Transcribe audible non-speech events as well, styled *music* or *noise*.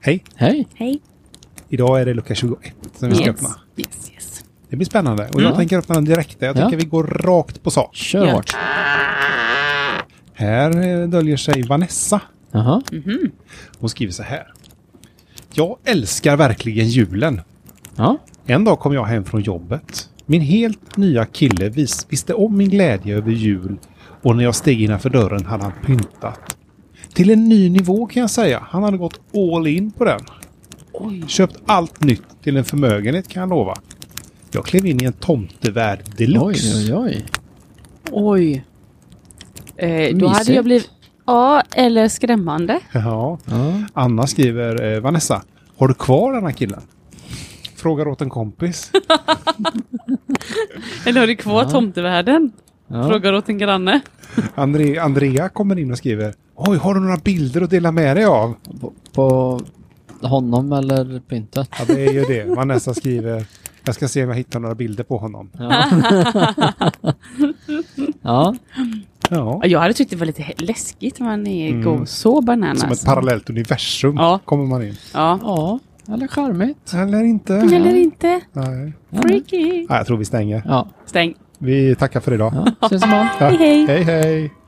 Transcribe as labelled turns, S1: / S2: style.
S1: Hej!
S2: Hej.
S3: Hej.
S1: Idag är det lucka 21 som vi ska öppna.
S3: Yes. yes, yes.
S1: Det blir spännande. Och jag
S2: Ja.
S1: tänker öppna den direkt. Jag
S2: Ja.
S1: tänker vi går rakt på sak.
S2: Kör
S3: Ja.
S2: hårt.
S1: Här eh, döljer sig Vanessa.
S2: Jaha.
S1: Hon skriver så här. Jag älskar verkligen julen.
S2: Ja.
S1: En dag kom jag hem från jobbet. Min helt nya kille vis- visste om min glädje över jul och när jag steg innanför dörren hade han pyntat. Till en ny nivå kan jag säga. Han hade gått all in på den. Köpt allt nytt till en förmögenhet kan jag lova. Jag klev in i en tomtevärld
S2: Oj,
S1: deluxe.
S2: oj, oj.
S3: Oj. Eh, då
S2: Mysigt.
S3: hade jag blivit... Ja, eller skrämmande.
S1: Ja.
S2: Ja.
S1: Anna skriver, eh, Vanessa, har du kvar den här killen? Frågar åt en
S2: *laughs*
S1: kompis.
S3: Eller har du kvar tomtevärlden?
S2: Ja.
S3: Frågar åt en granne.
S1: Andre- Andrea kommer in och skriver, oj, har du några bilder att dela med dig av?
S2: På, på honom eller pyntet?
S1: Ja, det är ju det. Vanessa skriver jag ska se om jag hittar några bilder på honom.
S2: Ja.
S1: Ja.
S3: Ja, Jag hade tyckt det var lite he- läskigt om man är
S1: Mm.
S3: går så bananas.
S1: Som ett parallellt universum
S3: Ja.
S1: kommer man in.
S3: Ja.
S2: Ja. Eller charmigt.
S1: Eller inte.
S3: Eller inte.
S1: Nej.
S3: Freaky.
S1: Nej, jag tror vi stänger.
S2: Ja.
S3: Stäng.
S1: Vi tackar för idag.
S2: ja. Ses imorgon.
S1: Ja.
S3: Hej,
S1: hej,
S3: hej.
S1: hej.